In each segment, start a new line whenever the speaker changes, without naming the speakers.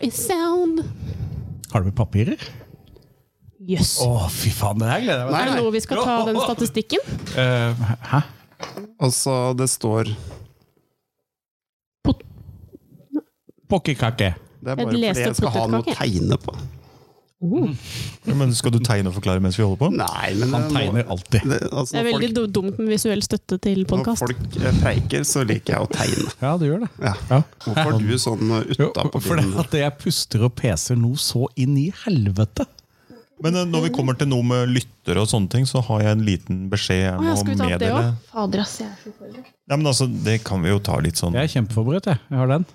is sound.
Har du med papirer?
Jøss.
Å, fy faen, det her gleder jeg meg
Er det noe vi skal ta den statistikken?
Eh, hæ?
Altså, det står
Pokkekake.
Det er
Et
bare fordi
lest opp
jeg skal ha noe å
potetkake.
tegne på.
Men Skal du tegne og forklare mens vi holder på?
Nei,
Han
men det må-
tegner alltid.
det, altså,
Det er
når
veldig
folk,
do- dumt med visuell støtte til
når
podkast.
folk eh, preiker, så liker jeg å tegne.
Ja, det gjør det.
Ja.
Ja.
Hvorfor er du sånn eh,
Jo,
utapå
for det
bilen?
at jeg puster og peser noe så inn i helvete.
Men eh, når vi kommer til noe med lyttere og sånne ting, så har jeg en liten beskjed jeg
Å ja,
må
skal vi ta opp det
meddele.
òg?
Fader, ass, jeg er så forberedt.
Nei, men altså, det kan vi jo ta litt sånn.
Jeg er kjempeforberedt, jeg. Jeg har den.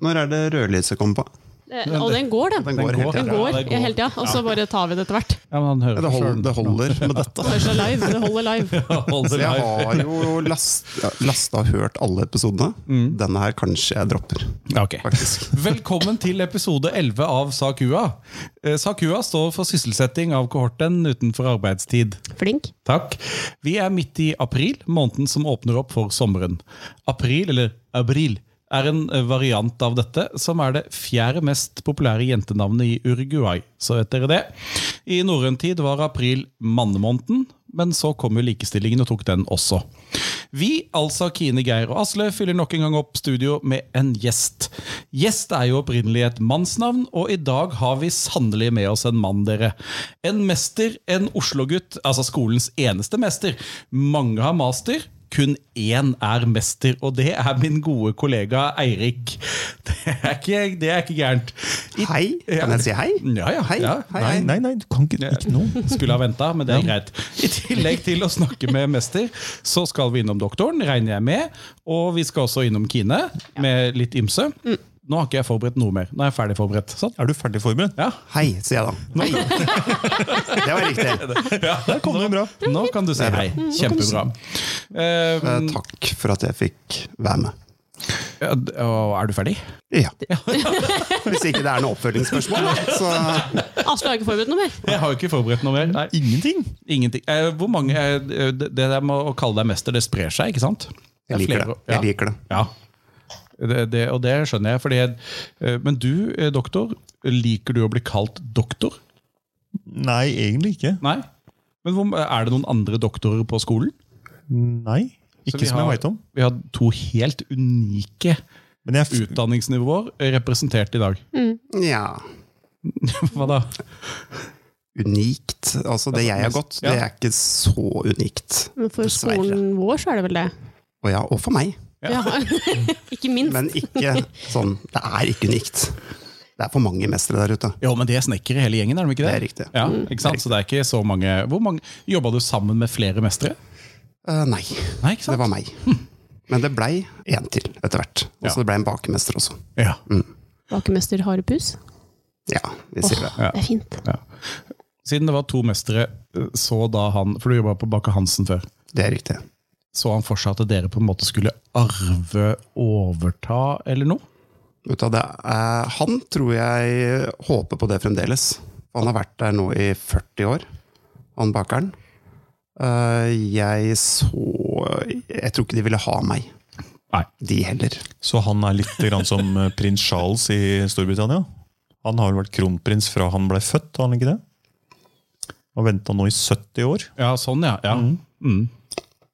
Når er det rødlyset kommer på?
Eh, Og den går, den.
Den går helt
Den
til.
går ja, hele tida, og så bare tar vi det etter hvert.
Ja, men han hører
Det
på
holder,
selv.
det holder med dette.
Det er live, det holder live.
Ja, holder
Så jeg
live.
har jo last- ja, lasta og hørt alle episodene.
Mm.
Denne her kanskje jeg dropper,
Ja, ok.
faktisk.
Velkommen til episode 11 av SAKUA. Eh, SAKUA står for sysselsetting av kohorten utenfor arbeidstid.
Flink.
Takk. Vi er midt i april, måneden som åpner opp for sommeren. April, eller abril, er en eh, variant av dette, som er det fjerde mest populære jentenavnet i Uruguay. Så vet dere det. I norrøn tid var april mannemåneden, men så kom jo likestillingen og tok den også. Vi, altså Kine, Geir og Asle, fyller nok en gang opp studio med en gjest. Gjest er jo opprinnelig et mannsnavn, og i dag har vi sannelig med oss en mann, dere. En mester, en Oslo-gutt, altså skolens eneste mester. Mange har master. Kun én er mester, og det er min gode kollega Eirik. Det er ikke, det er ikke gærent. I-
Hei? Kan jeg si hei?
Ja, ja.
Hei,
ja.
hei,
Nei,
hei.
nei, nei, du kan ikke, ikke nå.
Skulle ha venta, men det er greit. I tillegg til å snakke med mester, så skal vi innom doktoren, regner jeg med. Og vi skal også innom Kine, med litt ymse. Nå har ikke jeg forberedt noe mer. Nå er jeg ferdig forberedt. Sånn.
Er du ferdig forberedt?
Ja,
Hei, sier jeg da. Det var riktig.
Der kom det bra.
Nå kan du si hei. Kjempebra. Eh,
Eh, Takk for at jeg fikk være med.
ja, d- og er du ferdig?
Ja. Hvis ikke det er noe oppfølgingsspørsmål, da, så
Asle har ikke forberedt noe mer.
Jeg har jo ikke forberedt noe mer. Nei.
Ingenting.
Ingenting. Eh, hvor mange eh, Det det der med å kalle deg mester, det sprer seg, ikke sant? Det er
jeg liker
flere-
det.
ja.
Jeg liker det.
Ja, det, det, og det skjønner jeg. Fordi, eh, men du, eh, doktor, liker du å bli kalt doktor?
Nei, egentlig ikke.
Nei? Men hvor, Er det noen andre doktorer på skolen?
Nei.
Så
Ikke
vi
som jeg
har-
veit om.
Vi har to helt unike
Men jeg, f-
utdanningsnivåer representert i dag.
Ja.
Hva da?
Unikt. Altså, det jeg har gått, det er ikke så unikt.
Men for
Dessverre.
skolen vår så er det vel det.
Og ja, og for meg.
Ja. Ikke minst.
Men ikke sånn Det er ikke unikt. Det er for mange mestere der ute.
Jo, men det er snekkere hele gjengen, er de ikke det?
Det er riktig.
Ja, ikke sant? Så det er ikke så mange Hvor mange Jobba du sammen med flere mestere?
Eh, nei.
Nei, ikke sant?
Det var meg. Men det blei én til etter hvert. Og så det blei en bakemester også.
Ja.
Bakemester Harepus.
Ja, vi sier det.
Det er fint.
ja. Siden det var to mestere, eh, så da han For du jobba på Bakke Hansen før.
Det er riktig.
Så han for seg at dere på en måte skulle arve, overta eller noe?
Vet du, hva, det er, han tror jeg håper på det fremdeles. Han har vært der nå i 40 år, han bakeren. Eh, jeg så Jeg tror ikke de ville ha meg,
Nei.
de heller.
så han er litt grann som eh, prins Charles i Storbritannia? Han har vel vært kronprins fra han ble født, har han ikke det? Og venta nå i 70 år.
Ja, sånn, ja. ja. Mm.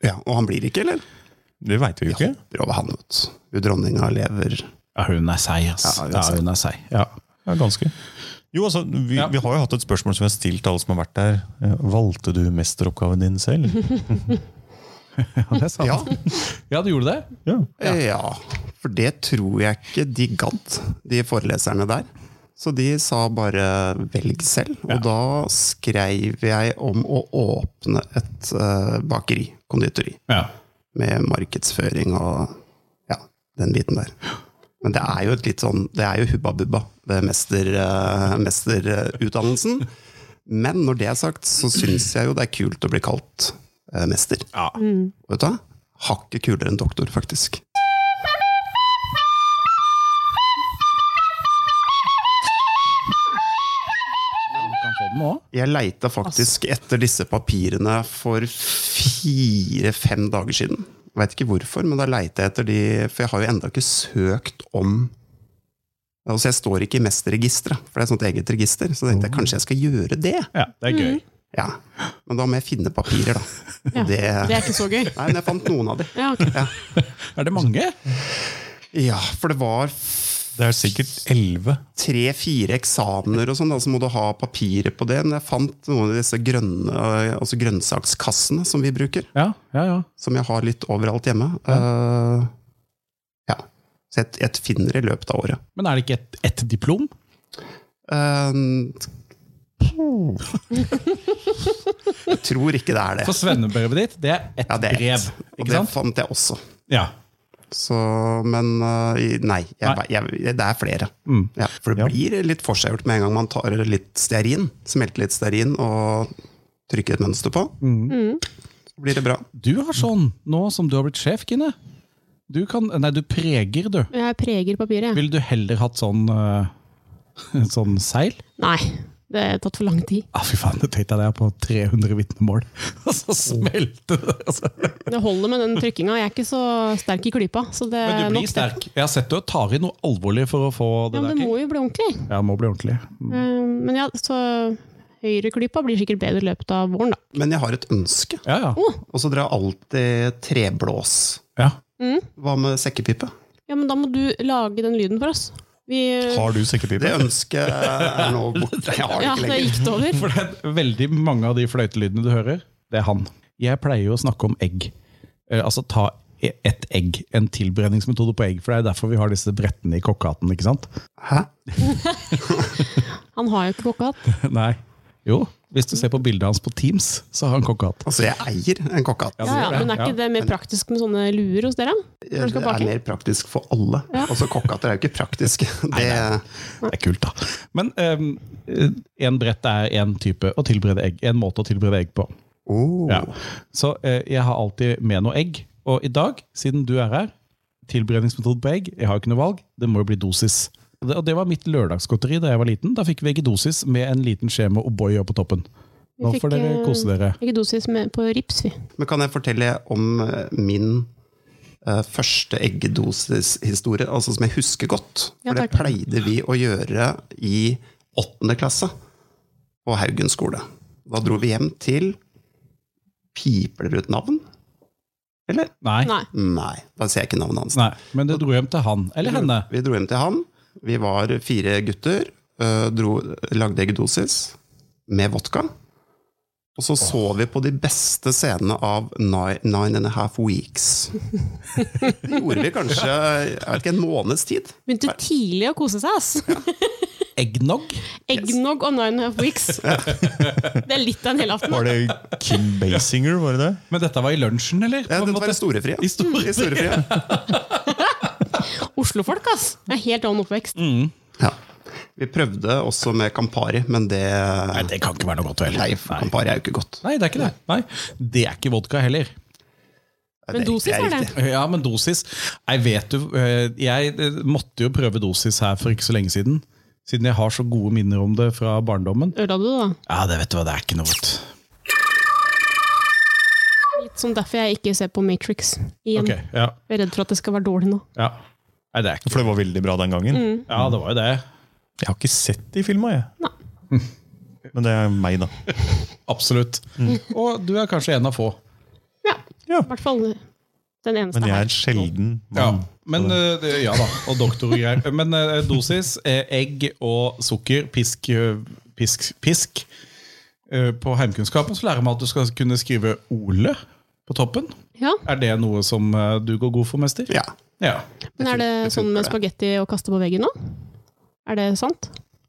Ja, Og han blir ikke, eller?
Det veit vi jo ikke.
Hopper over han, vet du. Hun Dronninga lever
Ja, hun er seig, ass.
Ja, hun er
Ja,
seig.
hun er seig. Ja.
Ja, ganske. Jo, altså, vi,
Ja.
vi har jo hatt et spørsmål som vi har stilt til alle som har vært der. Eh, Valgte du mesteroppgaven din selv?
ja, det er sant.
Ja,
Ja. du gjorde det?
Ja.
eh, ja. For det tror jeg ikke de gadd, de foreleserne der. Så de sa bare 'velg selv', og da skrev jeg om å åpne et eh, bakeri, konditori,
Ja.
med markedsføring og ja, den biten der. Men det er jo et litt sånn, det er jo hubba bubba, det er mester, eh, mesterutdannelsen. Men når det er sagt, så syns jeg jo det er kult å bli kalt eh, mester.
Ja.
Og Vet du hva? Hakket kulere enn doktor, faktisk.
Du kan få den nå.
Jeg leita faktisk etter disse papirene for fire-fem dager siden. Veit ikke hvorfor, men da leita jeg etter de For jeg har jo enda ikke søkt om Og så Altså, jeg står ikke i mesterregisteret, for det er et sånt eget register. Så tenkte jeg kanskje jeg skal gjøre det.
Ja, det er gøy.
Ja, Men da må jeg finne papirer, da. Og
Ja.
Det,
Det er ikke så gøy.
Nei, men jeg fant noen av de.
Ja, ok.
Er det mange?
Ja, for det var
Det er sikkert elleve.
tre-fire eksamener og sånn, da, så må du ha papirer på det. Men jeg fant noen av disse grønne, altså grønnsakskassene som vi bruker.
Ja, ja, ja.
Som jeg har litt overalt hjemme. Eh, ja. Så jeg, jeg finner i løpet av året.
Men er det ikke ett et diplom?
Eh, jeg tror ikke det er det.
For svennebrevet ditt, det er ett
Ja, det er
brev.
ett. Og
Ikke
det
sant?
fant jeg også.
Ja.
Så, men eh, i- nei, jeg,
Nei.
Jeg, jeg, det er flere.
Mm.
Ja, for det
Ja.
blir litt forseggjort med en gang man tar litt stearin, smelter litt stearin og trykker et mønster på.
Mm.
Så blir det bra.
Du har sånn nå som du har blitt sjef, Kine. Du kan Nei, du preger, du.
Jeg preger papiret. jeg.
Ville du heller hatt sånn eh, Sånn seil?
Nei, det har tatt for lang tid.
Ah, fy faen, det tenkte jeg det er på 300 vitnemål. Og så
Mm.
smelte det! Altså.
Det holder med den trykkinga. Jeg er ikke så sterk i klypa. Så det
Men
er
du
Eh, nok det.
blir sterk. Jeg har sett du tar i noe alvorlig for å få det
Ja, men
der
det
til.
må jo bli ordentlig.
Ja, det må bli ordentlig.
Eh, Men ja, så høyreklypa blir sikkert bedre i løpet av våren, da.
Men jeg har et ønske.
Ja, ja.
Mm.
Og så drar jeg alltid treblås.
ja.
Hva med sekkepipe?
Ja, men da må du lage den lyden for oss. Vi
Har du
Det
sekkepipe?
ønsket er nå borte. Jeg har det
Ja,
ikke
det
lenger.
gikk det over.
For det er veldig mange av de fløytelydene du hører, det er han. Jeg pleier jo å snakke om egg. Eh, Altså ta e- ett egg, en tilberedningsmetode på egg. For det er derfor vi har disse brettene i kokkehatten, ikke sant?
Hæ?
Han har jo ikke kokkehatt.
Nei. Jo, hvis du ser på bildet hans på Teams, så har han kokkehatt.
Altså, jeg eier en kokkehatt.
Ja, ja, men er ikke det mer praktisk med sånne luer hos dere? Når du
Det
skal
er
bake?
mer praktisk for alle. Altså, kokkehatter er jo ikke praktiske. Det,
Det er kult, da. Men én brett er én type å tilberede egg. En måte å tilberede egg på.
oh.
Ja. Så eh, jeg har alltid med noe egg. Og i dag, siden du er her, tilberedningsmetode på egg, jeg har jo ikke noe valg, det må jo bli dosis. Og det, og det var mitt lørdagsgodteri da jeg var liten. Da fikk vi egg i dosis med en liten skje med O'boy på toppen. Nå
Vi fikk,
får dere
eh,
kose dere.
Ikke dosis med, på rips, vi.
Men kan jeg fortelle om eh, min eh, første eggedosishistorie, altså som jeg husker godt?
Ja,
For det
takk.
pleide vi å gjøre i åttende klasse på Haugen skole. Da dro vi hjem til Piper dere ut navn? Eller?
Nei.
Nei.
Nei, da ser jeg ikke navnet hans.
Nei. Men det dro hjem til han eller henne.
Vi dro hjem til han. Vi var fire gutter. eh, Dro, lagde eggedosis med vodka. Og så så vi på de beste scenene av Nine, nine and a Half Weeks. Det gjorde vi kanskje jeg vet ikke, en måneds tid.
Begynte tidlig å kose seg, ass.
Eggnog?
Eggnog og nine and a half weeks. Det er litt av en helaften.
Var det Kim Basinger, var det det?
Men dette var i lunsjen, eller?
Ja,
På en
det var
måte.
i storefria.
I storefria.
I storefria.
Oslofolk, ass. Det er helt annen oppvekst.
Ja. Vi prøvde også med Campari, men det
Nei, det kan ikke være noe godt, vel?
Nei, for
Nei.
Campari er jo ikke godt.
Nei, det er ikke det. Nei. Det er ikke vodka heller.
Men
Det er-
dosis er det.
riktig.
Ja, men dosis Jeg vet jo eh, Jeg eh, måtte jo prøve dosis her for ikke så lenge siden. Siden jeg har så gode minner om det fra barndommen.
Ødela du, det, da?
Ja, det vet du hva, det er ikke noe godt.
Litt sånn derfor jeg ikke ser på Matrix igjen.
Ok, ja,
Jeg er redd for at det skal være dårlig nå.
ja. Nei, det er ikke
For det var veldig bra den gangen.
Ja, det var jo det.
Jeg har ikke sett de filma, jeg. Men det er meg, da.
Absolutt. Og du er kanskje en av få.
Ja.
Ja.
I hvert fall den eneste
Men jeg
her.
er sjelden
Ja,
mann.
men, eh, det- ja da, og doktor og greier. Men eh, dosis, eh, egg og sukker, pisk, eh, pisk, pisk. Eh, På heimkunnskapen så lærer man at du skal kunne skrive Ole på toppen.
Ja,
Er det noe som eh, du går god for, mester?
Ja.
Ja.
Men er det
det
sånn med
funker,
spagetti å kaste på veggen nå? Er det sant?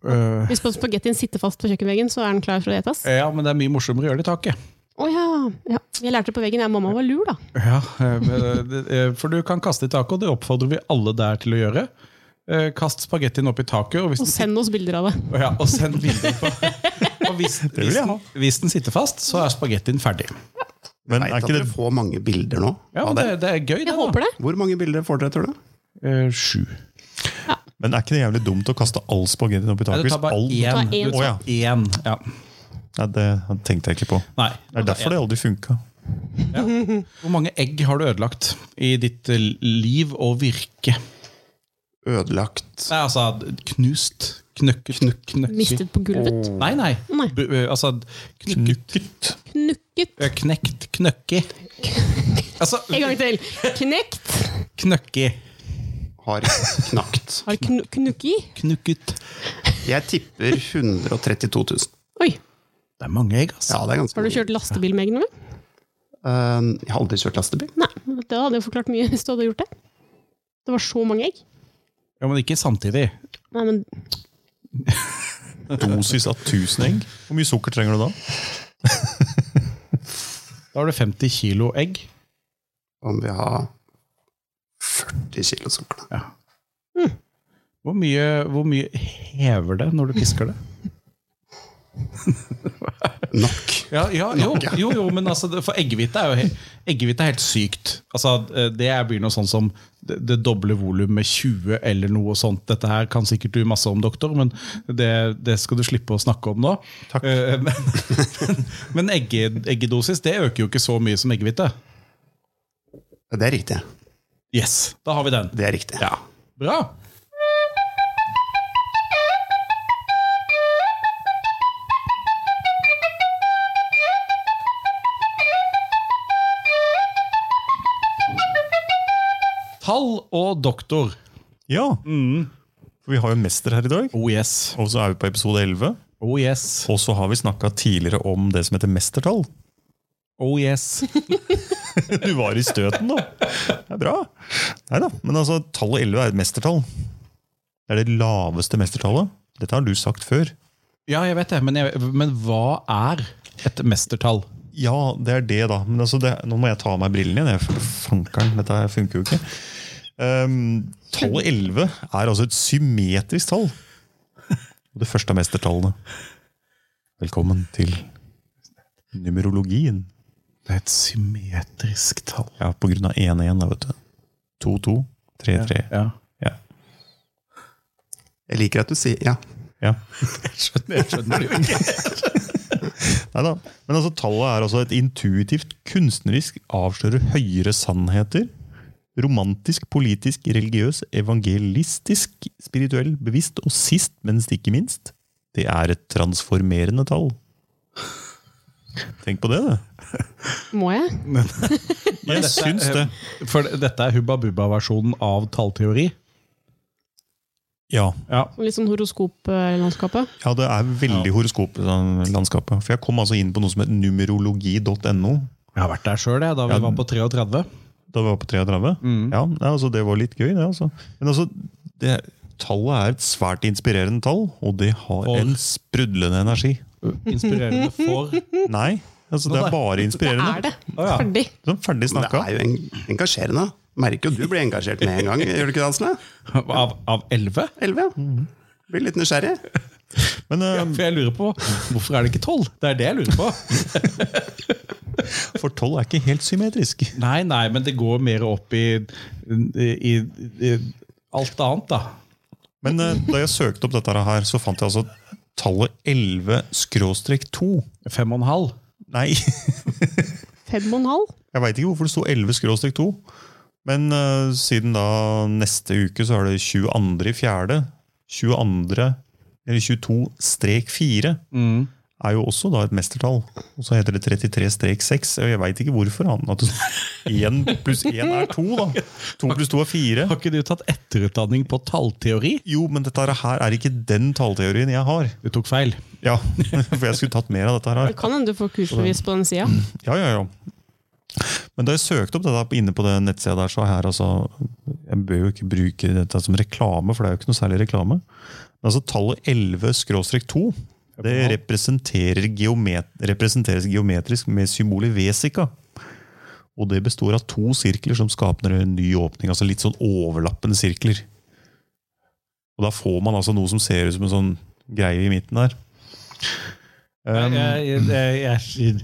Øh,
Hvis spagettien sitter fast på kjøkkenveggen, så er den klar for å etes? Å
ja, men det er mye morsommere å gjøre det i taket.
ja. ja. Jeg lærte det på veggen. Ja, mamma var lur, da.
Ja, eh, men, eh, for du kan kaste i taket, og det oppfordrer vi alle der til å gjøre. Eh, Kast spagettien opp i taket, og hvis
Og
den
send oss bilder av det.
sitter- ja, og send bilder på Og hvis,
vil
hvis,
jeg
den, hvis den sitter fast, så er spagettien ferdig.
Men
Veit
er
at
ikke
dere
det
får mange bilder nå.
Ja, men
av
det,
det.
det er gøy, det.
Jeg håper det.
Hvor mange bilder får dere, tror du?
Eh, Sju.
Men er ikke det jævlig dumt å kaste all spagettien opp i
Nei,
taket?
du tar
hvis
bare én.
all-
Du tar én.
Du tar én. Ja.
Nei, det tenkte jeg ikke på.
Nei.
Det er derfor det aldri funka.
Hvor mange egg har du ødelagt i ditt eh, liv og virke?
Ødelagt
Nei, altså knust. Knøkket. knøkket.
Mistet på gulvet.
Nei, nei.
Nei.
Bu- ø, altså knukket.
Knukket.
Knukket.
Ø, Knekt. Knøkki. Altså
En gang til. Knekt.
knøkki.
har knakt.
Har knu knukki.
Knukket.
Jeg tipper 132 000.
Oi.
Det er mange egg, altså.
Ja, det er ganske
Har du
mye.
kjørt lastebil med eggene?
Eh, jeg har aldri kjørt lastebil.
Nei. Det hadde jo forklart mye hvis du hadde gjort det. Det var så mange egg.
Ja, Men ikke samtidig.
Nei, men
Dosis av 1000 egg. Hvor mye sukker trenger du da?
Da har du 50 kilo egg.
Om vi har 40 kilo sukker, da.
Hvor mye, hvor mye hever det når du pisker det?
Nok.
Ja, ja jo, jo, jo, men altså, det- for eggehvite er jo he eggehvite er helt sykt. Altså, eh, det blir noe sånn som det, det doble volum med 20 eller noe sånt. Dette her kan sikkert du masse om, doktor, men det, det skal du slippe å snakke om nå. Eh, men men egge, eggedosis det øker jo ikke så mye som eggehvite.
Det er riktig.
Yes, da har vi den.
Det er riktig.
Ja, Bra! Tall og doktor.
Ja. For vi har jo en mester her i dag.
Oh yes.
Og så er vi på episode 11.
Oh yes.
Og så har vi snakka tidligere om det som heter mestertall.
Oh yes.
Du var i støten, da. Det er bra. Nei da. Men altså, tallet 11 er et mestertall. Det er det laveste mestertallet. Dette har du sagt før.
Ja, jeg vet det, men, jeg, men hva er et mestertall?
Ja, det er det, da. Men altså, det, nå må jeg ta av meg brillene igjen. jeg, for Fankeren, dette her funker jo ikke. Ehm, tallet 11 er altså et symmetrisk tall. Og det første av mestertallene. Velkommen til numerologien.
Det er et symmetrisk tall.
Ja, på grunn av 1-1, da, vet du. 2-2, 3-3.
Ja.
Ja.
Jeg liker at du sier ja.
ja.
Jeg skjønner, jeg skjønner det jo ikke.
Neida. Men altså, tallet er altså et intuitivt, kunstnerisk, avslører høyere sannheter. Romantisk, politisk, religiøs, evangelistisk, spirituell, bevisst og sist, men ikke minst. Det er et transformerende tall. Tenk på det, det.
må jeg?
Jeg
dette-
syns det.
For dette er Hubba Bubba-versjonen av tallteori.
Ja,
Ja.
Litt sånn horoskoplandskapet.
ja det er veldig horoskoplandskapet. For jeg kom altså inn på noe som het numerologi.no.
Jeg har vært der sjøl, da vi
Ja.
var på 33.
Da vi var på 33? Ja, nei, altså, det var litt gøy, det. altså. Men altså, det, tallet er et svært inspirerende tall, og det har
For-
en sprudlende energi.
Inspirerende for
Nei, altså, det er bare inspirerende.
Er det?
ja.
Ferdig.
Sånn ferdig
Men det
snakka.
er jo en, engasjerende. Merker jo du blir engasjert med en gang, gjør du ikke det, Asle?
Av, av 11?
11?
Mhm.
Blir litt nysgjerrig.
Men eh,
For jeg lurer på hvorfor er det ikke 12? Det er det jeg lurer på.
for tolv er ikke helt symmetrisk.
Nei, nei, men det går mer opp i, i, i, i alt annet, da.
Men eh, da jeg søkte opp dette her, så fant jeg altså tallet 11-2.
Fem og en halv.
Nei, jeg
Fem og en halv.
veit ikke hvorfor det sto 11-2. Men eh, siden da neste uke så er det 22.4. 22. eller 22-4 er jo også da et mestertall. Og så heter det 33-6. og Jeg veit ikke hvorfor. Han, at 1 pluss 1 er 2, da. 2 pluss 2 er 4.
Har ikke du tatt etterutdanning på tallteori?
Jo, men dette her er ikke den tallteorien jeg har.
Du tok feil.
Ja, For jeg skulle tatt mer av dette her.
Det kan hende du får kursbevis på den sida.
Ja, ja, ja. Men da jeg søkte opp dette på- inne på det nettsida der, så er altså Jeg bør jo ikke bruke dette som reklame, for det er jo ikke noe særlig reklame. Men altså tallet 11-2 det representerer geomet representeres geometrisk med symbolet vesika. Og det består av to sirkler som skaper en ny åpning. altså Litt sånn overlappende sirkler. Og da får man altså noe som ser ut som en sånn greie i midten der. Um,
jeg, jeg, jeg,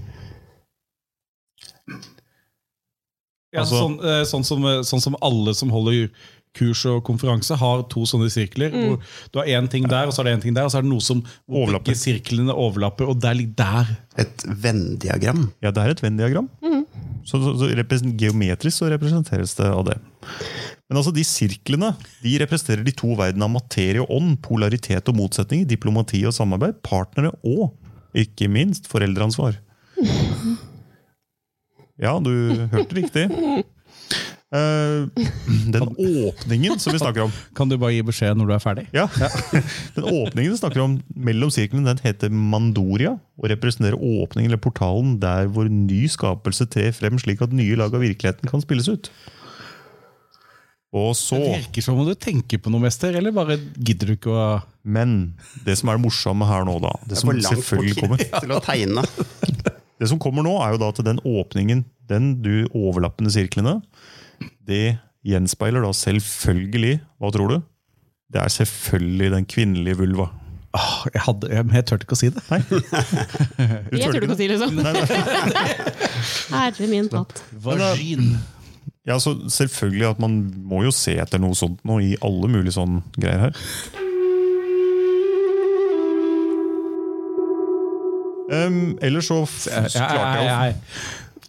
ja,
Altså-
sånn, eh, sånn, som, eh, sånn som alle som holder kurs og konferanse, har to sånne sirkler. Hvor du har én ting der, og så er det én ting der, og så er det noe som hvor
Overlapper.
begge sirklene overlapper. Og der ligger der.
Et Venn-diagram.
Ja, det er et Venn-diagram. Så, så, så represen- Geometrisk så representeres det av det. Men altså, de sirklene de representerer de to verdenene av materie og ånd, polaritet og motsetninger, diplomati og samarbeid, partnere og, ikke minst, foreldreansvar. Ja, du hørte riktig. Eh, den åpningen som vi snakker om
Kan du bare gi beskjed når du er ferdig?
ja. Den åpningen vi snakker om mellom sirklene, den heter mandoria og representerer åpningen eller portalen der hvor ny skapelse trer frem, slik at nye lag av virkeligheten kan spilles ut. Og så
Det virker som om du tenker på noe, mester, eller bare gidder du ikke å
Men det som er det morsomme her nå, da Det som
for langt
selvfølgelig
bort
kommer Mhm.
til å tegne.
Det som kommer nå, er jo da til den åpningen, den du overlappende sirklene. Det gjenspeiler da selvfølgelig Hva tror du? Det er selvfølgelig den kvinnelige vulva.
Åh, Ah, jeg, hadde, jeg, jeg turte ikke å si det.
Nei, du
Jeg
tør
turte ikke å si det sånn.
Nei, nei.
Herre min hatt.
Vagin.
Ja, så selvfølgelig at man må jo se etter noe sånt nå i alle mulige sånne greier her. Um, ellers så f-
Jeg, jeg, jeg,
klarte jeg
jeg.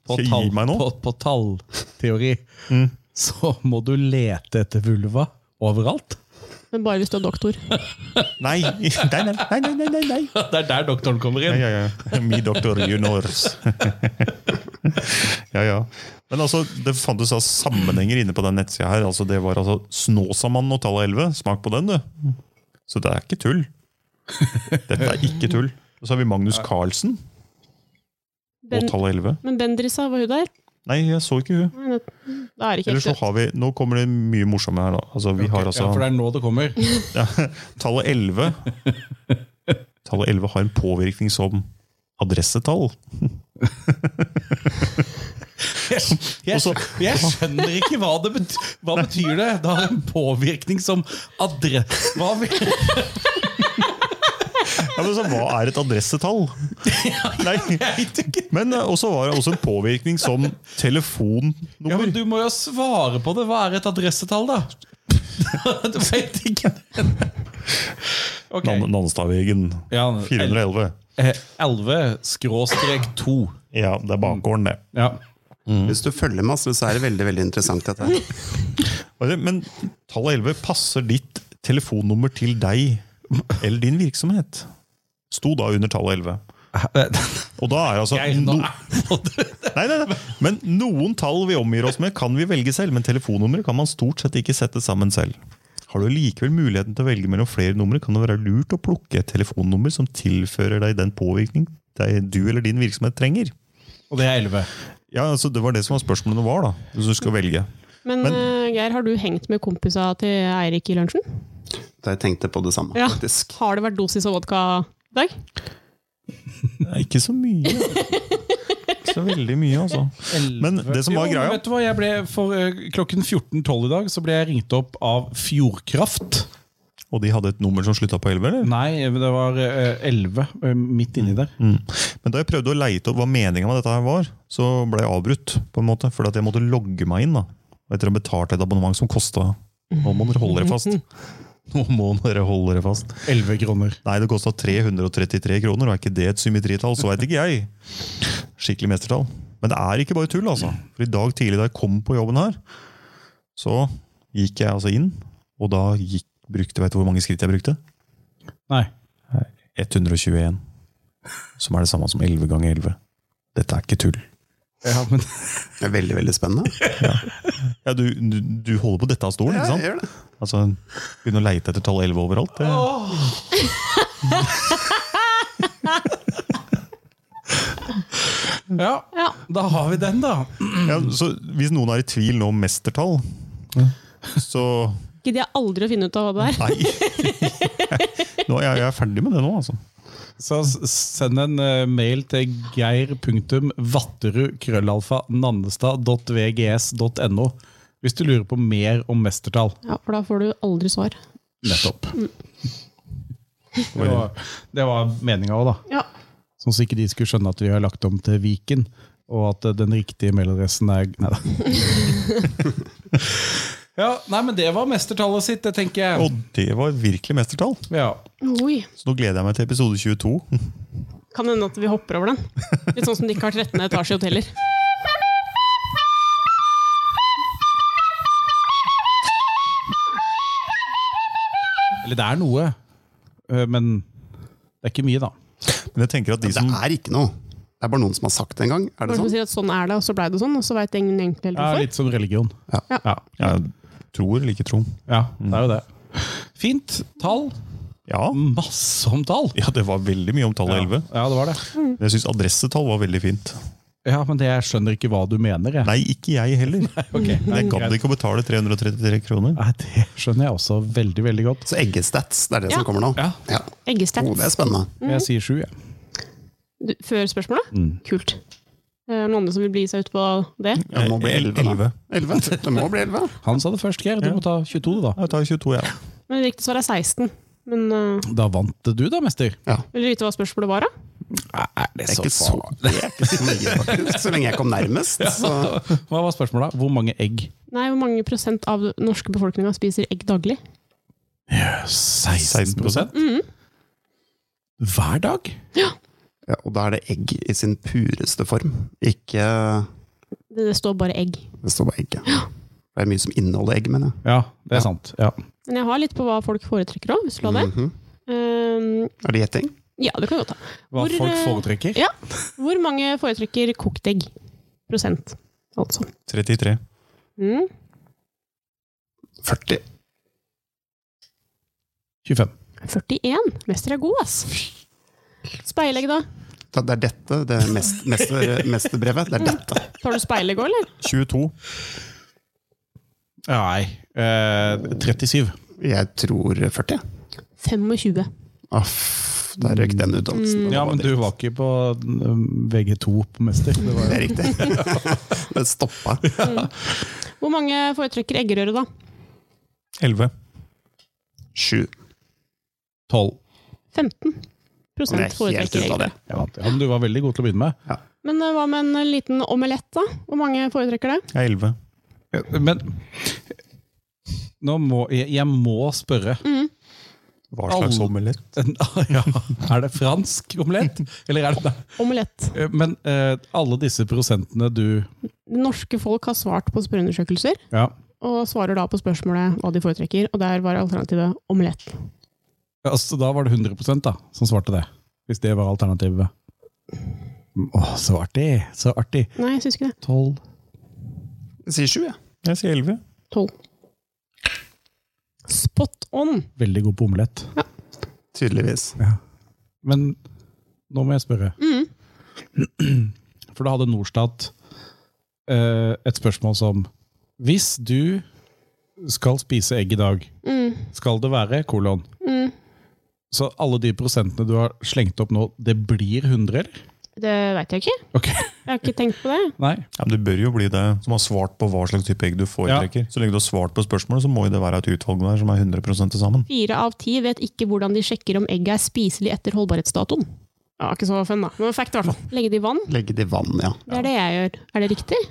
På,
Skal jeg
tall,
gi meg nå?
på, på tallteori så må du lete etter vulva overalt.
Men bare hvis du er doktor.
å Nei, nei, nei, nei, nei, nei, nei, nei.
Det er der doktoren kommer
Ja,
inn.
ja, ja. Mi doktor juniors. ja, ja. Men altså, det fantes da sammenhenger inne på den nettsida her. Altså, det var altså Snåsamannen og tallet 11. Smak på den, du. Så det er ikke tull. Dette er ikke tull. Og så har vi Magnus Carlsen og
Ben,
tallet 11.
men Bendrisa, var hun der?
Nei, jeg så ikke hun.
Nei, det- Da er det ikke
Eller så
helt
har vi, Nå kommer det mye morsomme her. da. Altså, vi har altså
ja, for det er nå det kommer.
tallet 11. Tallet 11 har en påvirkning som adressetall.
Jeg, jeg, jeg skjønner ikke hva det betyr. Hva betyr det? Det har en påvirkning som adre... Hva vil
Ja, men så Hva er et adressetall? Nei. Men eh, også var det også en påvirkning som
Ja, men
telefonnummer.
Du må jo svare på det. Hva er et adressetall, da? Du vet ikke. Ok.
Nan- Nannestadvegen.
Ja,
411.
eh, 11 skråstrek 2.
Ja, det er bakgården, det.
Ja.
Hvis du følger med, oss, så er det veldig veldig interessant. dette her.
Og det- Men tallet 11 passer ditt telefonnummer til deg eller din virksomhet. Sto da under tallet 11.
Eh,
Og da er altså
Jeg, nå,
no- Nei, nei, nei. Men noen tall vi omgir oss med, kan vi velge selv, men telefonnummeret kan man stort sett ikke sette sammen selv. Har du likevel muligheten til å velge mellom flere numre, kan det være lurt å plukke et telefonnummer som tilfører deg den påvirkning deg- du eller din virksomhet trenger.
og det er 11.
Ja, altså Det var det som var spørsmålet det var, da. Hvis du skal velge.
Men eh, Geir, har du hengt med kompisa til Eirik i lunsjen?
Da jeg tenkte på det samme,
Ja.
faktisk.
Har det vært dosis av vodka i dag?
Nei, ikke så mye. Ikke så veldig mye, altså. Men det som var
Jo,
greia-
Vet du hva, jeg ble for eh, Klokken 14.12 i dag så ble jeg ringt opp av Fjordkraft.
Og de hadde et nummer som slutta på 11, eller?
Nei, det var eh, 11 eh, midt inni der.
Mm. Men da jeg prøvde å leite opp hva meninga med dette her var, så ble jeg avbrutt. på en måte, Fordi at jeg måtte logge meg inn. da. Og etter å ha betalt et abonnement som kosta Nå må dere holde dere fast. Nå må dere holde dere fast.
11 kroner.
Nei, det kosta 333 kroner, og er ikke det et symmetritall, så veit ikke jeg. Skikkelig mestertall. Men det er ikke bare tull, altså. For i dag tidlig da jeg kom på jobben her, så gikk jeg altså inn, og da gikk, brukte Veit du hvor mange skritt jeg brukte?
Nei.
121. Som er det samme som 11 ganger 11. Dette er ikke tull.
Ja, men,
Det er veldig veldig spennende.
Ja, du, du, du holder på dette av stolen,
Ja, jeg
ikke sant?
gjør det.
Altså, Begynne å leite etter tall 11 overalt. Det.
ja,
Ja.
da har vi den, da.
Mm.
Ja, så Hvis noen er i tvil nå om mestertall, så
Gidder jeg aldri å finne ut av hva det er.
Nei! Nå, jeg, jeg er ferdig med det nå, altså.
Så s- send en eh, mail til geir.vatterud.krøllalfa.nannestad.vgs.no hvis du lurer på mer om mestertall.
Ja, For da får du aldri svar.
Nettopp. Det var, det var meninga òg, da.
Ja.
Sånn så ikke de skulle skjønne at vi har lagt om til Viken, og at eh, den riktige mailadressen er Nei da. Ja, nei, men det var mestertallet sitt, det tenker jeg.
Og det var virkelig mestertall.
Ja.
Oi.
Så nå gleder jeg meg til episode 22.
Kan hende at vi hopper over den. Litt sånn som de ikke har 13. etasje i hoteller.
Eller det er noe, eh, men det er ikke mye, da.
Men jeg tenker at de
Det
som
er ikke noe. Det er bare noen som har sagt det en gang. Er
Noen
det
som
sånn?
sier at sånn er det, og så blei det sånn, og så veit ingen egentlig helt
Ja,
hvorfor.
litt som religion.
Ja.
Ja.
ja, tror eller ikke tror.
ja,
Mm.
det er jo det. Fint. Tall.
Ja.
Masse om tall.
ja, det var veldig mye om tallet 11.
Mm. Ja, det var det.
Men Jeg syns adressetall var veldig fint.
Ja, men det, jeg skjønner ikke hva du mener. Jeg.
Nei, ikke jeg heller.
Ok.
Jeg gadd ikke å betale 333 kroner.
Nei, det skjønner jeg også veldig, veldig godt.
Så eggestats, det er det
Ja.
som kommer nå?
Ja.
Ja.
Eggestats.
Oh, det er spennende.
Mm.
Jeg sier sju, jeg.
Du, før spørsmålet? Kult. Eh, Er det noen andre som vil bli seg ut på det?
Ja, det må bli
Eh,
11, da.
11.
11. Det må bli 11.
Han sa det først, Geir. Du må ta 22, da.
Jeg tar 22, jeg. Ja.
Men riktig svar er 16. Men øh,
Da vant du, da, mester.
vil du vite hva spørsmålet var, da?
Er
Det er ikke så, det er ikke så mye, faktisk. Så lenge jeg kom nærmest, så
Hva var spørsmålet? da? Hvor mange egg?
Nei, hvor mange prosent av den norske befolkninga spiser egg daglig?
16
16%.
Mm.
Hver dag?
ja, Og da er det egg i sin pureste form. Ikke
Det, det står bare egg.
Det står bare egg. ja. Det er mye som inneholder egg, mener jeg.
Ja, det er sant. Ja.
Men jeg har litt på hva folk foretrekker òg, hvis du la det.
Mhm.
Ehm,
Er det gjetting?
ja, det kan vi godt ta.
Hva
Hvor, eh,
folk foretrekker?
Ja. Hvor mange foretrekker kokt egg? Prosent, altså.
33.
Mm.
40.
25.
41. Mester er god, ass. Speilegg, da?
Da- Det er dette, det er mest, mester, mesterbrevet. Det er dette.
Tar du speilegg òg, eller?
22.
Nei, eh, 37.
Jeg tror 40.
25.
Aff, Ah, der røk den utdannelsen.
Ja, men du var ikke på mm, VG2 på mester. Det var
Det er riktig. det stoppa.
Hvor mange foretrekker eggerøre, da?
11.
Sju.
12.
15
Og det er helt
foretrekker
ut av
eggerøre.
det.
Jeg vant, ja, men du var veldig god til å begynne med.
Men eh, hva med en liten omelett, da? Hvor mange foretrekker det?
Jeg er 11.
Men nå må, jeg, jeg må spørre.
Hva slags
Alle.
omelett?
Ja, er det fransk omelett? Eller er det
Omelett.
Eh, Men eh, alle disse prosentene du
Det norske folk har svart på spørreundersøkelser,
ja.
og svarer da på spørsmålet hva de foretrekker, og der var alternativet omelett.
altså, Da var det 100 da, som svarte det. Hvis det var alternativet. Åh, så artig! Så artig.
Nei, jeg syns ikke det.
12
Jeg sier sju, jeg.
Jeg sier 11.
12. Spot on!
Veldig god på omelett.
Tydeligvis.
Men nå må jeg spørre. For da hadde Norstat eh, et spørsmål som Hvis du skal spise egg i dag, skal det være kolon? Så alle de prosentene du har slengt opp nå, det blir 100, eller?
Det veit jeg ikke.
Ok,
Jeg har ikke tenkt på det.
Nei.
Ja, men det bør jo bli det som har svart på hva slags type egg du foretrekker. Så lenge du har svart på spørsmålet, så må jo det være et utvalg der som er 100 til sammen.
Fire av ti vet ikke hvordan de sjekker om egget er spiselig etter holdbarhetsdatoen. Ja, ikke så fun, da. Men fact, i hvert fall. Legge det i vann.
Legge det i vann, ja.
Det er det jeg gjør. Er det riktig?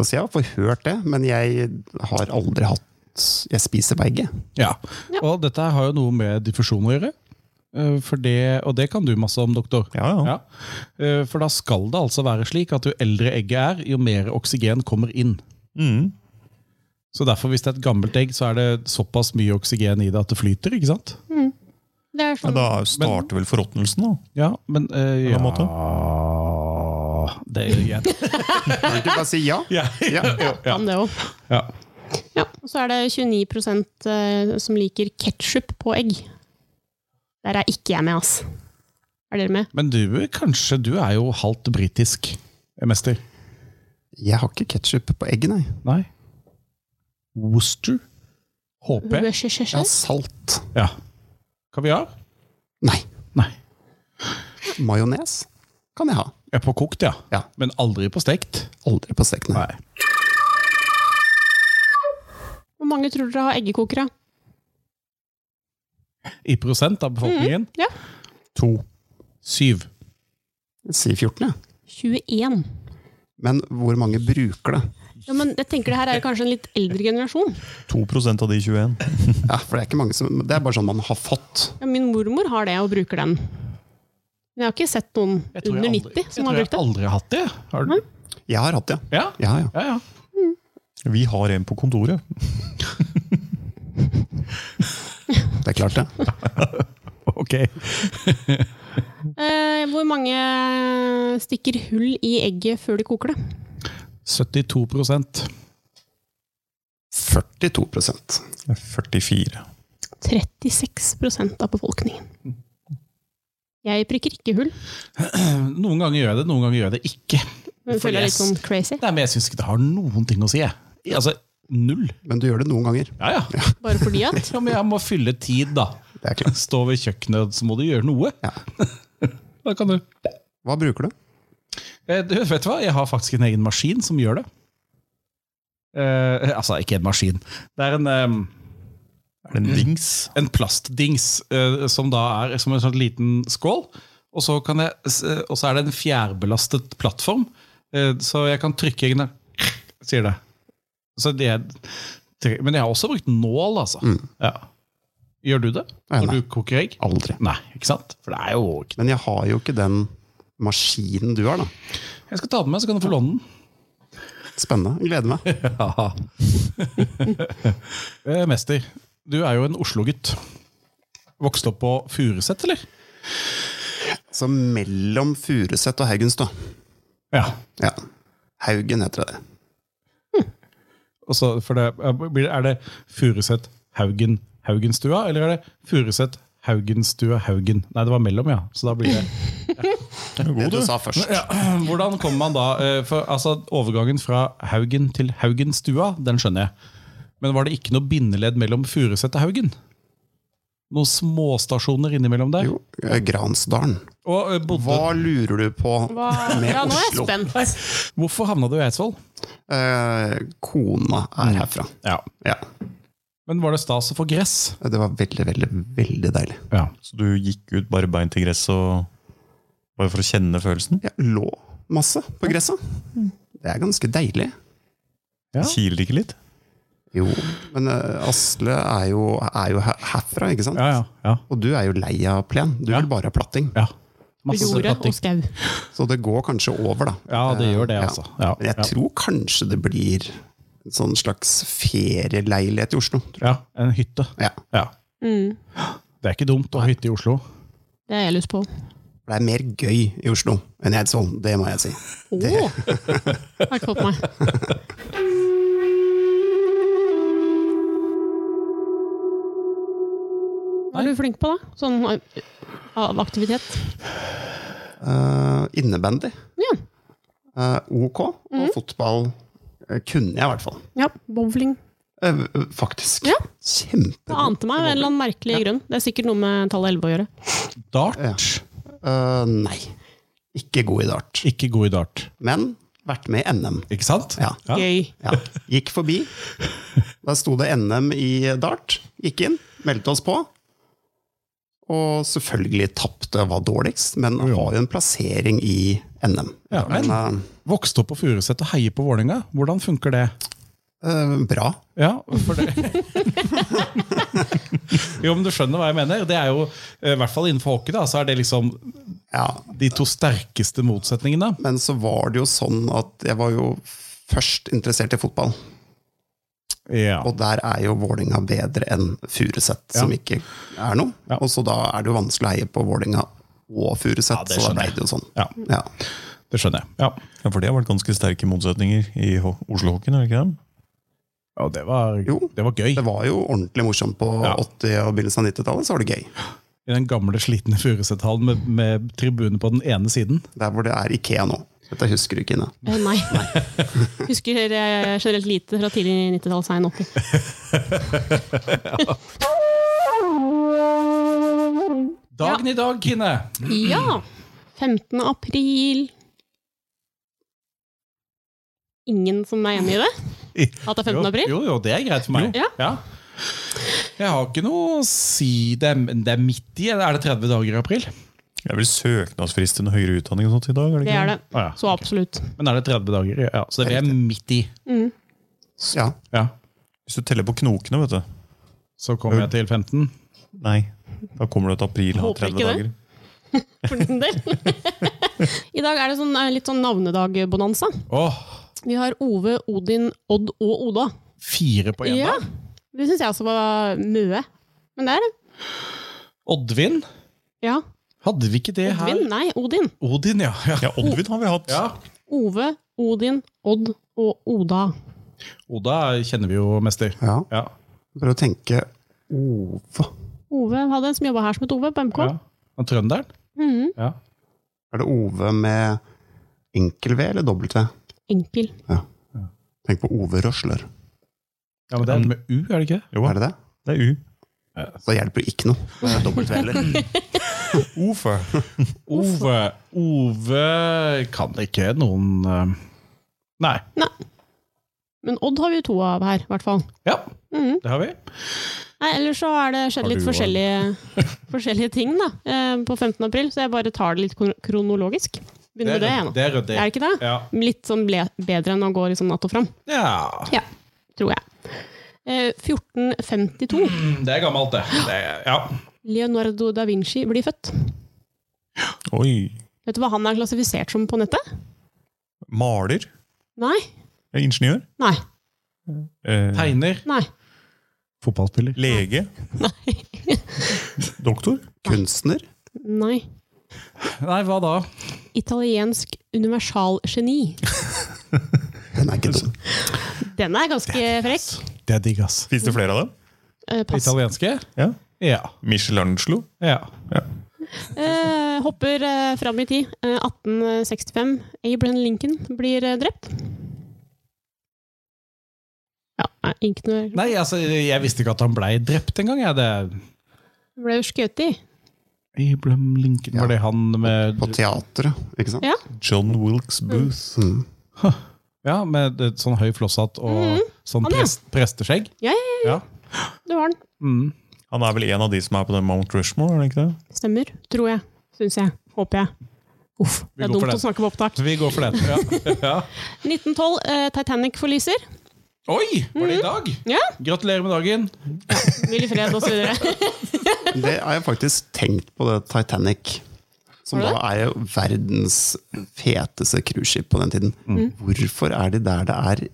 Altså, jeg har forhørt det, men jeg har aldri hatt Jeg spiser begge.
Ja.
Ja.
Og dette her har jo noe med diffusjon å gjøre. Eh, For det, og det kan du masse om, doktor.
Ja, ja.
Ja. Eh, For da skal det altså være slik at jo eldre egget er, jo mer oksygen kommer inn.
Mm.
Så derfor, hvis det er et gammelt egg, så er det såpass mye oksygen i det at det flyter, ikke sant?
Det er
Ja,
sånn
da starter vel forråtnelsen, da.
Ja, men eh,
På en måte.
Ja Det er greit.
Kan du ikke bare si ja?
Ja.
Ja.
kan det òg.
Ja.
Ja, og så er det 29 eh, som liker ketsjup på egg. Der er ikke jeg med, ass. Er dere med?
Men du, kanskje du er jo halvt britisk eh, mester?
Jeg har ikke ketsjup på egget, nei.
Nei? Worcester? Håper jeg.
Jeg har
Yes.
salt.
Ja. Kaviar?
Nei.
Nei.
Majones kan jeg ha.
Ja, på kokt, ja.
Ja.
Men aldri på stekt.
Aldri på stekene.
Nei.
Hvor mange tror dere har eggekokere?
I prosent av befolkningen?
Ja.
To. Syv.
Jeg sier 14, jeg.
21.
Men hvor mange bruker det?
Ja, men jeg tenker det her er kanskje en litt eldre generasjon.
2 av de 21.
Ja, for det er ikke mange som Det er bare sånn man har fått.
Ja, min mormor har det og bruker den. Men jeg har ikke sett noen under 90 som har
jeg
brukt det.
aldri har hatt det. Har du?
Nei.
Jeg har hatt det, ja.
Ja,
Ja, ja.
ja, ja.
Vi har en på kontoret.
at jeg klarte det.
Ok.
Eh, hvor mange eh, stikker hull i egget før de koker det?
72
42
Det er 44.
36 av befolkningen. Jeg prikker ikke hull.
Eh, Noen ganger gjør jeg det, noen ganger gjør jeg det ikke.
Men føler jeg litt sånn crazy.
Nei, men Jeg syns ikke det har noen ting å si. Jeg. Altså, null.
Men du gjør det noen ganger.
Ja, ja.
Bare fordi at
ja men jeg må fylle tid, da.
Det er klart.
Stå ved kjøkkenet, så må du gjøre noe.
Ja.
Da kan du.
Hva bruker du?
Eh, du. Vet du hva, jeg har faktisk en egen maskin som gjør det. Eh, altså, ikke en maskin. Det er en, eh,
Er det en dings?
en plastdings eh, som da er som en sånn liten skål. Og så, kan jeg, s- eh, og så er det en fjærbelastet plattform, eh, så jeg kan trykke inn der, sier det. Så det er, men jeg har også brukt nål, altså. Ja. Gjør du det
Mm. Nei,
når
nei.
du koker egg?
Aldri.
Nei, ikke sant? For det er jo ikke
Men jeg har jo ikke den maskinen du har, da.
Jeg skal ta den med, så kan du få låne den.
Spennende. Gleder meg.
Eh, Mester, du er jo en Oslo-gutt. Vokste opp på Furuset, eller?
Så mellom Furuset og Haugenstua.
Ja.
Ja. Haugen heter det.
Og så- for det, blir- er det Furuset Haugen Haugenstua, eller er det Furuset Haugenstua Haugen? Nei, det var mellom, ja. Så da blir det
Det du sa først.
ja. Hvordan kommer man da eh, for, altså, Overgangen fra Haugen til Haugenstua, den skjønner jeg. Men var det ikke noe bindeledd mellom Furuset og Haugen? Noen småstasjoner innimellom der?
Jo, eh, Gransdalen.
Og eh, bodde,
Hva lurer du på
hva,
med
Ja, nå er jeg
Oslo?
spent.
hvorfor havna du i Eidsvoll?
Eh, kona er herfra.
Ja.
Ja.
Men var det stas å få gress?
Det var veldig, veldig, veldig deilig.
Ja.
Så du gikk ut bare beint i gresset og bare for å kjenne følelsen?
Jeg lå masse på gresset.
Mm.
Det er ganske deilig.
Ja.
Kiler det ikke litt?
Jo, men eh, Asle er jo, er jo her- herfra, ikke sant?
Ja, ja, ja.
Og du er jo lei av plen. Du vil bare ha platting.
ja.
Jorda og skau.
Så det går kanskje over, da. Eh,
Ja, det gjør det,
Ja.
altså. Ja,
Men jeg
ja.
tror kanskje det blir en sånn slags ferieleilighet i Oslo. tror jeg.
Ja, en hytte.
Ja.
Ja.
Mm,
Det er ikke dumt å ha hytte i Oslo.
det har jeg lyst på.
For det er mer gøy i Oslo enn i Eidsvoll, det må jeg si.
Å! Har ikke fått meg. Hva er du flink på, da? Sånn av aktivitet?
Eh, innebandy,
Ja.
eh, OK, og fotball eh, kunne jeg i hvert fall.
ja bowling.
Eh, faktisk.
Ja. Det
Kjempegod.
ante meg av en eller annen merkelig grunn. Det er sikkert noe med tallet 11 å gjøre.
Dart.
Ja. Eh, nei, ikke god i dart.
Ikke god i dart.
Men vært med i NM.
Ikke sant?
Ja.
Ja.
Gøy.
ja. Gikk forbi. Der sto det NM i dart. Gikk inn, meldte oss på. Og selvfølgelig tapte, var dårligst, men har jo en plassering i NM.
Ja, men-
eh,
Vokste opp på Furuset og heier på Vålerenga. Hvordan funker det?
eh, bra.
Ja, for det Jo, men du skjønner hva jeg mener. Det er jo, eh, i hvert fall innenfor hockey, da, så er det liksom
Ja,
de to sterkeste motsetningene.
Men så var det jo sånn at jeg var jo først interessert i fotball.
Ja.
Og der er jo Vålinga bedre enn Furuset, som ikke er noe. Og så da er det jo vanskelig å heie på Vålinga og Furuset,
det
så da
skjønner
ble
jeg.
det jo sånn.
Ja.
Ja.
Det skjønner jeg. Ja.
Ja, For det har vært ganske sterke motsetninger i ho- Oslo-hockeyen, har det ikke det?
Og det var,
Jo.
det var gøy.
Det var jo ordentlig morsomt på
Ja.
80- og begynnelsen av 90-tallet, så var det gøy.
I den gamle, slitne Furuset-hallen med, med tribune på den ene siden.
Der hvor det er Ikea nå. Dette husker du ikke, Ine.
Eh, Nei. Husker eh, generelt lite fra tidlig 90-tall, sein 80.
Dagen i dag, Kine!
Ja! 15. april. Ingen som er enig i det? At det er 15. april?
Jo, jo, det er greit for meg.
Jo.
Ja. Jeg har ikke noe å si. Det er, det er midt i, eller er det 30 dager i april?
Det er vel søknadsfrist til noe høyere utdanning og sånt i dag? er det
Det
ikke
er det.
Å, ja.
Så absolutt.
Men er det 30 dager? i- Ja, så det er midt i.
Ja.
Ja.
Hvis du teller på knokene, vet du.
Så kommer jeg til 15.
Nei, da kommer du til april. ha
Håper
30
ikke det.
dager.
For din del. I dag er det sånn, eh, litt sånn navnedagbonanza.
Åh,
Vi har Ove, Odin, Odd og Oda.
fire på én
Ja.
dag?
Det syns jeg også var mye. Men det er det.
Oddvin?
Ja.
Hadde vi ikke det her?
Odvin? Nei, Odin.
Odin, ja. ja.
Ja, Oddvid har vi hatt.
ja.
Ove, Odin, Odd og Oda.
Oda kjenner vi jo mest til.
Ja.
Ja.
Prøv å tenke Ove.
Ove hadde en som jobba her som het Ove på MK.
ja. Og trønderen?
Mhm.
Ja.
Er det Ove med enkel V eller dobbelt V?
Enkel.
Tenk på Ove Røsler.
ja, men det er med U, er det ikke det?
Jo,
Er det det?
det er U.
Da hjelper det ikke noe. Det er dobbelt V heller.
Ofe.
Ove Ove kan ikke noen eh, Nei.
Men Odd har vi jo to av her, i hvert fall.
Ja,
Mhm.
det har vi.
Nei, ellers så er det skjedd
Har
litt
du, Oda?
forskjellige, forskjellige ting da, eh, på 15. april, så jeg bare tar det litt kron- kronologisk. Begynner med det, jeg nå.
det er ryddig.
Er det ikke det?
Ja.
Litt sånn ble, bedre enn å gå liksom natt og fram,
ja.
tror jeg. Eh, 1452.
Mm, Det er gammelt, det. det er, ja.
Leonardo da Vinci blir født.
Oi.
Vet du hva han er klassifisert som på nettet?
Maler?
Nei.
Eh, Ingeniør?
Nei.
Eh,
Tegner.
Nei.
Fotballspiller.
lege?
Nei.
Doktor?
Kunstner?
Nei.
Nei, hva da?
Italiensk universalgeni.
Den er ikke dum.
Den er ganske frekk.
Det er digg, ass.
Fins det flere av dem?
Eh, pass.
Italienske?
Ja.
Ja.
Michelangelo?
ja.
Eh, hopper eh, fram i tid. Eh, 1865. Abraham Lincoln blir eh, drept. Ja, nei, ikke noe
Nei, altså, jeg visste ikke at han blei drept engang. jeg. Det er
Ble jo skutt i.
Abraham Lincoln
Ja.
Var det han med
På teatret, ikke sant?
Ja.
John Wilkes Booth?
Mm.
Ja, med et sånn høy flosshatt og sånn
Mhm. Han, ja.
prest, presteskjegg?
Ja, ja,
ja.
Du har den.
Mm.
Han er vel en av de som er på den Mount Rushmore? er det ikke det?
Stemmer. Tror jeg. Syns jeg. Håper jeg. Uff,
Vi
det er
går for
dumt
den.
å snakke på opptak.
Så vi går for den. Ja. ja.
1912. Eh, Titanic forliser.
Oi! Var
Mhm.
det i dag?
Ja.
Gratulerer med dagen.
Hvil i fred, osv.
Det har jeg faktisk tenkt på, det Titanic. Som
Har du
da er jo verdens feteste cruiseskip på den tiden. Hvorfor er de der det er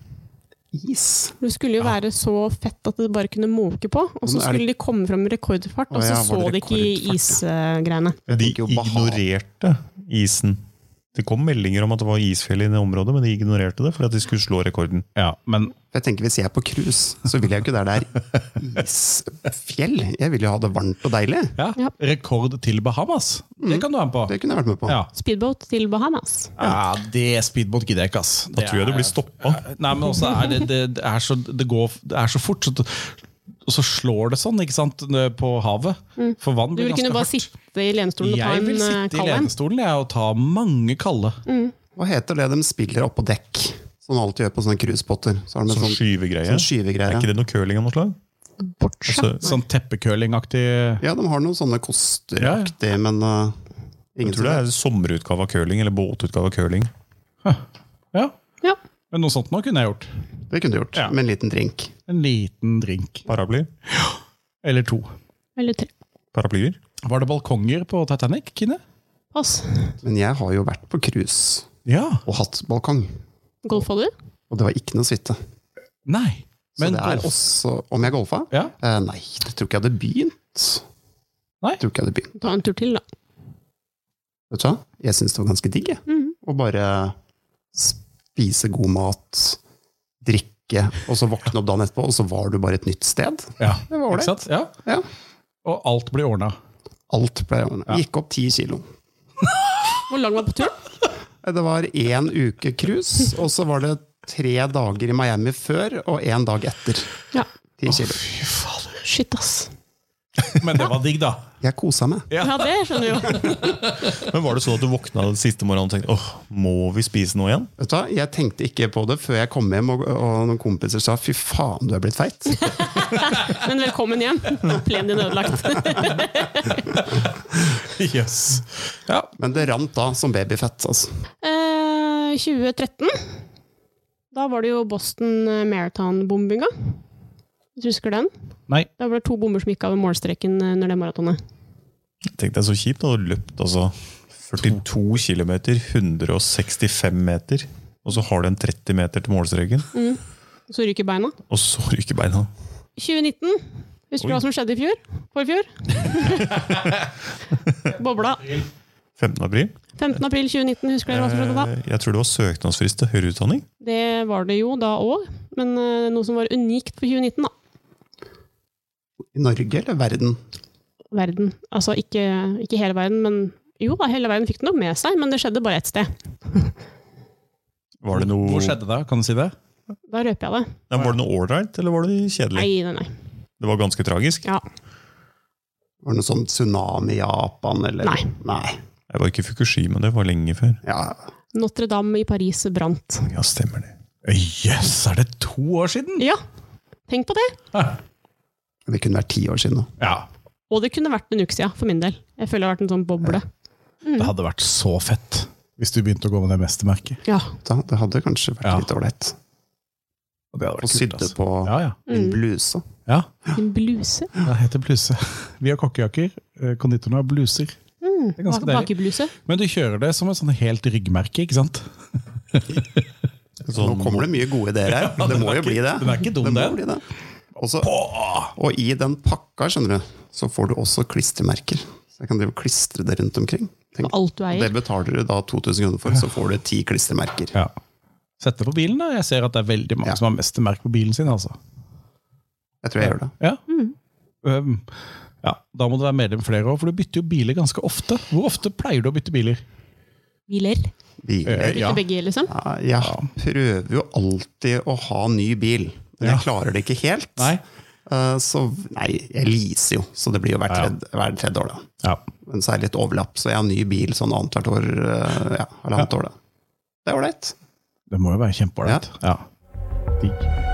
is?
Det skulle jo være så fett at det bare kunne måke på. Og så
Men er det-
skulle de komme fram med rekordfart, og
Å
så
ja, var
så
det
de ikke i isgreiene.
Jeg
De
tenker jo Bahamas.
ignorerte isen. Det kom meldinger om at det var isfjell i det området, men de ignorerte det fordi at de skulle slå rekorden.
Ja, men
For jeg tenker Hvis jeg er på cruise, så vil jeg jo ikke der det er isfjell. Jeg vil jo ha det varmt og deilig.
ja.
Ja. Mhm.
rekord til Bahamas. Det kan du være med på.
Det kunne jeg vært med på.
Ja.
Speedboat til Bahamas.
Ja, det speedbåt gidder jeg ikke, ass.
Da tror jeg du blir stoppa.
Nei, men også er det, det, det, er så, det, går, det er så fort, så, du- og så slår det sånn, ikke sant, på havet. For vann
Mm. Du
blir
vil kunne
ganske
bare
hardt.
sitte i lenestolen og ta
Jeg vil
en eh, Mm.
sitte i
kald en.
lenestolen jeg, og ta mange kalde.
Hva heter det de spiller oppå dekk? Som de alltid gjør på sånne cruisebåter. Så har de en
Sånn
sånn,
skyvegreie.
sånn
Er
skyvegreie.
ikke det noe curling av noe slag?
Boccia.
Altså,
Sånn teppekølingaktig
Ja, de har noen sånne kosteraktig, men uh, ingen
jeg tror det er sommerutgave av curling, eller båtutgave av curling.
Ja,
Ja.
men noe sånt nå kunne jeg gjort.
som- det kunne du gjort,
Ja.
med en liten drink.
En liten drink.
Paraply.
Eller to.
Eller tre.
Paraplyer.
Var det balkonger på Titanic, Kine?
Pass.
Men jeg har jo vært på cruise
Ja.
og hatt balkong,
Golfa du?
og det var ikke noe suite.
Nei.
Så
Men
det er
golf-
også Om jeg golfa?
Ja.
Eh, nei, det tror ikke jeg hadde begynt.
Nei.
Tror ikke jeg hadde begynt.
Ta en tur til, da.
Vet du hva? Jeg syns det var ganske digg, jeg.
Mhm.
Å bare spise god mat, drikke, og så våkne opp dagen etterpå, og så var du bare et nytt sted.
ja.
Det var
Ikke
ålreit.
sant? Ja.
Ja.
Og alt blir ordna.
Alt ble ordnet. Gikk opp ti kilo. Eh,
Hvor lang var på turen?
Det var én uke cruise, og så var det tre dager i Miami før og én dag etter.
Ja.
Ti kilo.
Fy fader.
Shit, ass.
Men det var digg, da.
Jeg kosa meg.
Ja, det skjønner vi jo.
Men var det sånn at du våkna den siste morgenen og tenkte åh, må vi spise noe igjen?
Vet du hva? Jeg tenkte ikke på det før jeg kom hjem, og, og noen kompiser sa 'fy faen, du er blitt feit'.
Men velkommen hjem. Plenen din ødelagt.
Yes. Ja.
Men det rant da som babyfett. altså.
Eh, 2013. Da var det jo Boston eh, Marathon-bombinga. Hvis du husker den?
Nei.
Da var det to bomber som gikk av i målstreken eh, under det maratonet.
Jeg tenkte det er så kjipt. Du hadde løpt altså 42 km, 165 meter, og så har du en 30 meter til målstreken,
Så ryker beina.
og så ryker beina.
2019 Husker
Oi.
du hva som skjedde i fjor? Forfjor? Bobla.
15. april.
15. april 2019, husker dere hva som skjedde da?
Eh, Jeg tror det var søknadsfrist til høyere utdanning.
Det var det jo da òg, men eh, noe som var unikt for 2019, da.
I Norge eller verden?
Verden. Altså ikke, ikke hele verden, men jo da, hele verden fikk det nok med seg, men det skjedde bare ett sted.
Var det noe,
Hvor skjedde det? Kan du si det?
Da røper jeg det.
Nei, var det noe ålreit, eller var det
Nei,
kjedelig?
nei, nei.
Det var ganske tragisk.
Ja.
Var det noe sånn tsunami i Japan, eller?
Nei.
Nei.
Det var ikke Fukushima, det var lenge før.
Ja,
Notre-Dame i Paris brant.
Ja, stemmer det.
Jøss, yes, er det to år siden?!
Ja, tenk på det!
det kunne vært ti år siden nå.
Ja,
Og det kunne vært en uke siden, for min del. Jeg føler det har vært en sånn boble.
Det hadde vært så fett hvis du begynte å gå med det mestermerket.
Ja.
Da, det hadde kanskje vært
Ja.
litt ålreit.
Og det hadde altså.
Og sydde på
Ja, ja.
en bluse.
ja.
En bluse.
Det heter bluse. Vi har kokkejakker, eh, konditorene har bluser.
Mm.
er
bak-
ganske deilig.
Bakebluse.
Men du kjører det som et sånn helt ryggmerke, ikke sant?
Nå kommer det mye gode ideer her. Det må jo bli det.
Sånn- Den er ikke dum,
Det må
den.
bli det. Og så- og i den pakka, skjønner du, så får du også klistremerker. Så jeg kan drive og klistre det rundt omkring. Tenk,
På alt du
det
eier.
betaler du da 2000 kroner for, så får du ti klistremerker.
Ja. Sett det på bilen, da. Jeg ser at det er veldig mange
Ja.
som har mestermerk på bilen sin. altså.
Jeg tror jeg gjør det.
Ja.
Mm.
Um, ja. Da må du være medlem flere år, for du bytter jo biler ganske ofte. Hvor ofte pleier du å bytte biler?
Biler.
Biler.
Eh, Ja.
Ikke begge, liksom.
Ja, Jeg prøver jo alltid å ha ny bil, men jeg klarer det ikke helt.
Nei.
Eh, Så nei, jeg leaser jo, så det blir jo hvert
Ja.
tredje, hver tredje år, da.
Ja.
Men så er det litt overlapp, så jeg har ny bil sånn annethvert år. eh, Ja, halvannet år, da. Det er ålreit.
Det må jo være kjempeålreit. Ja. Digg.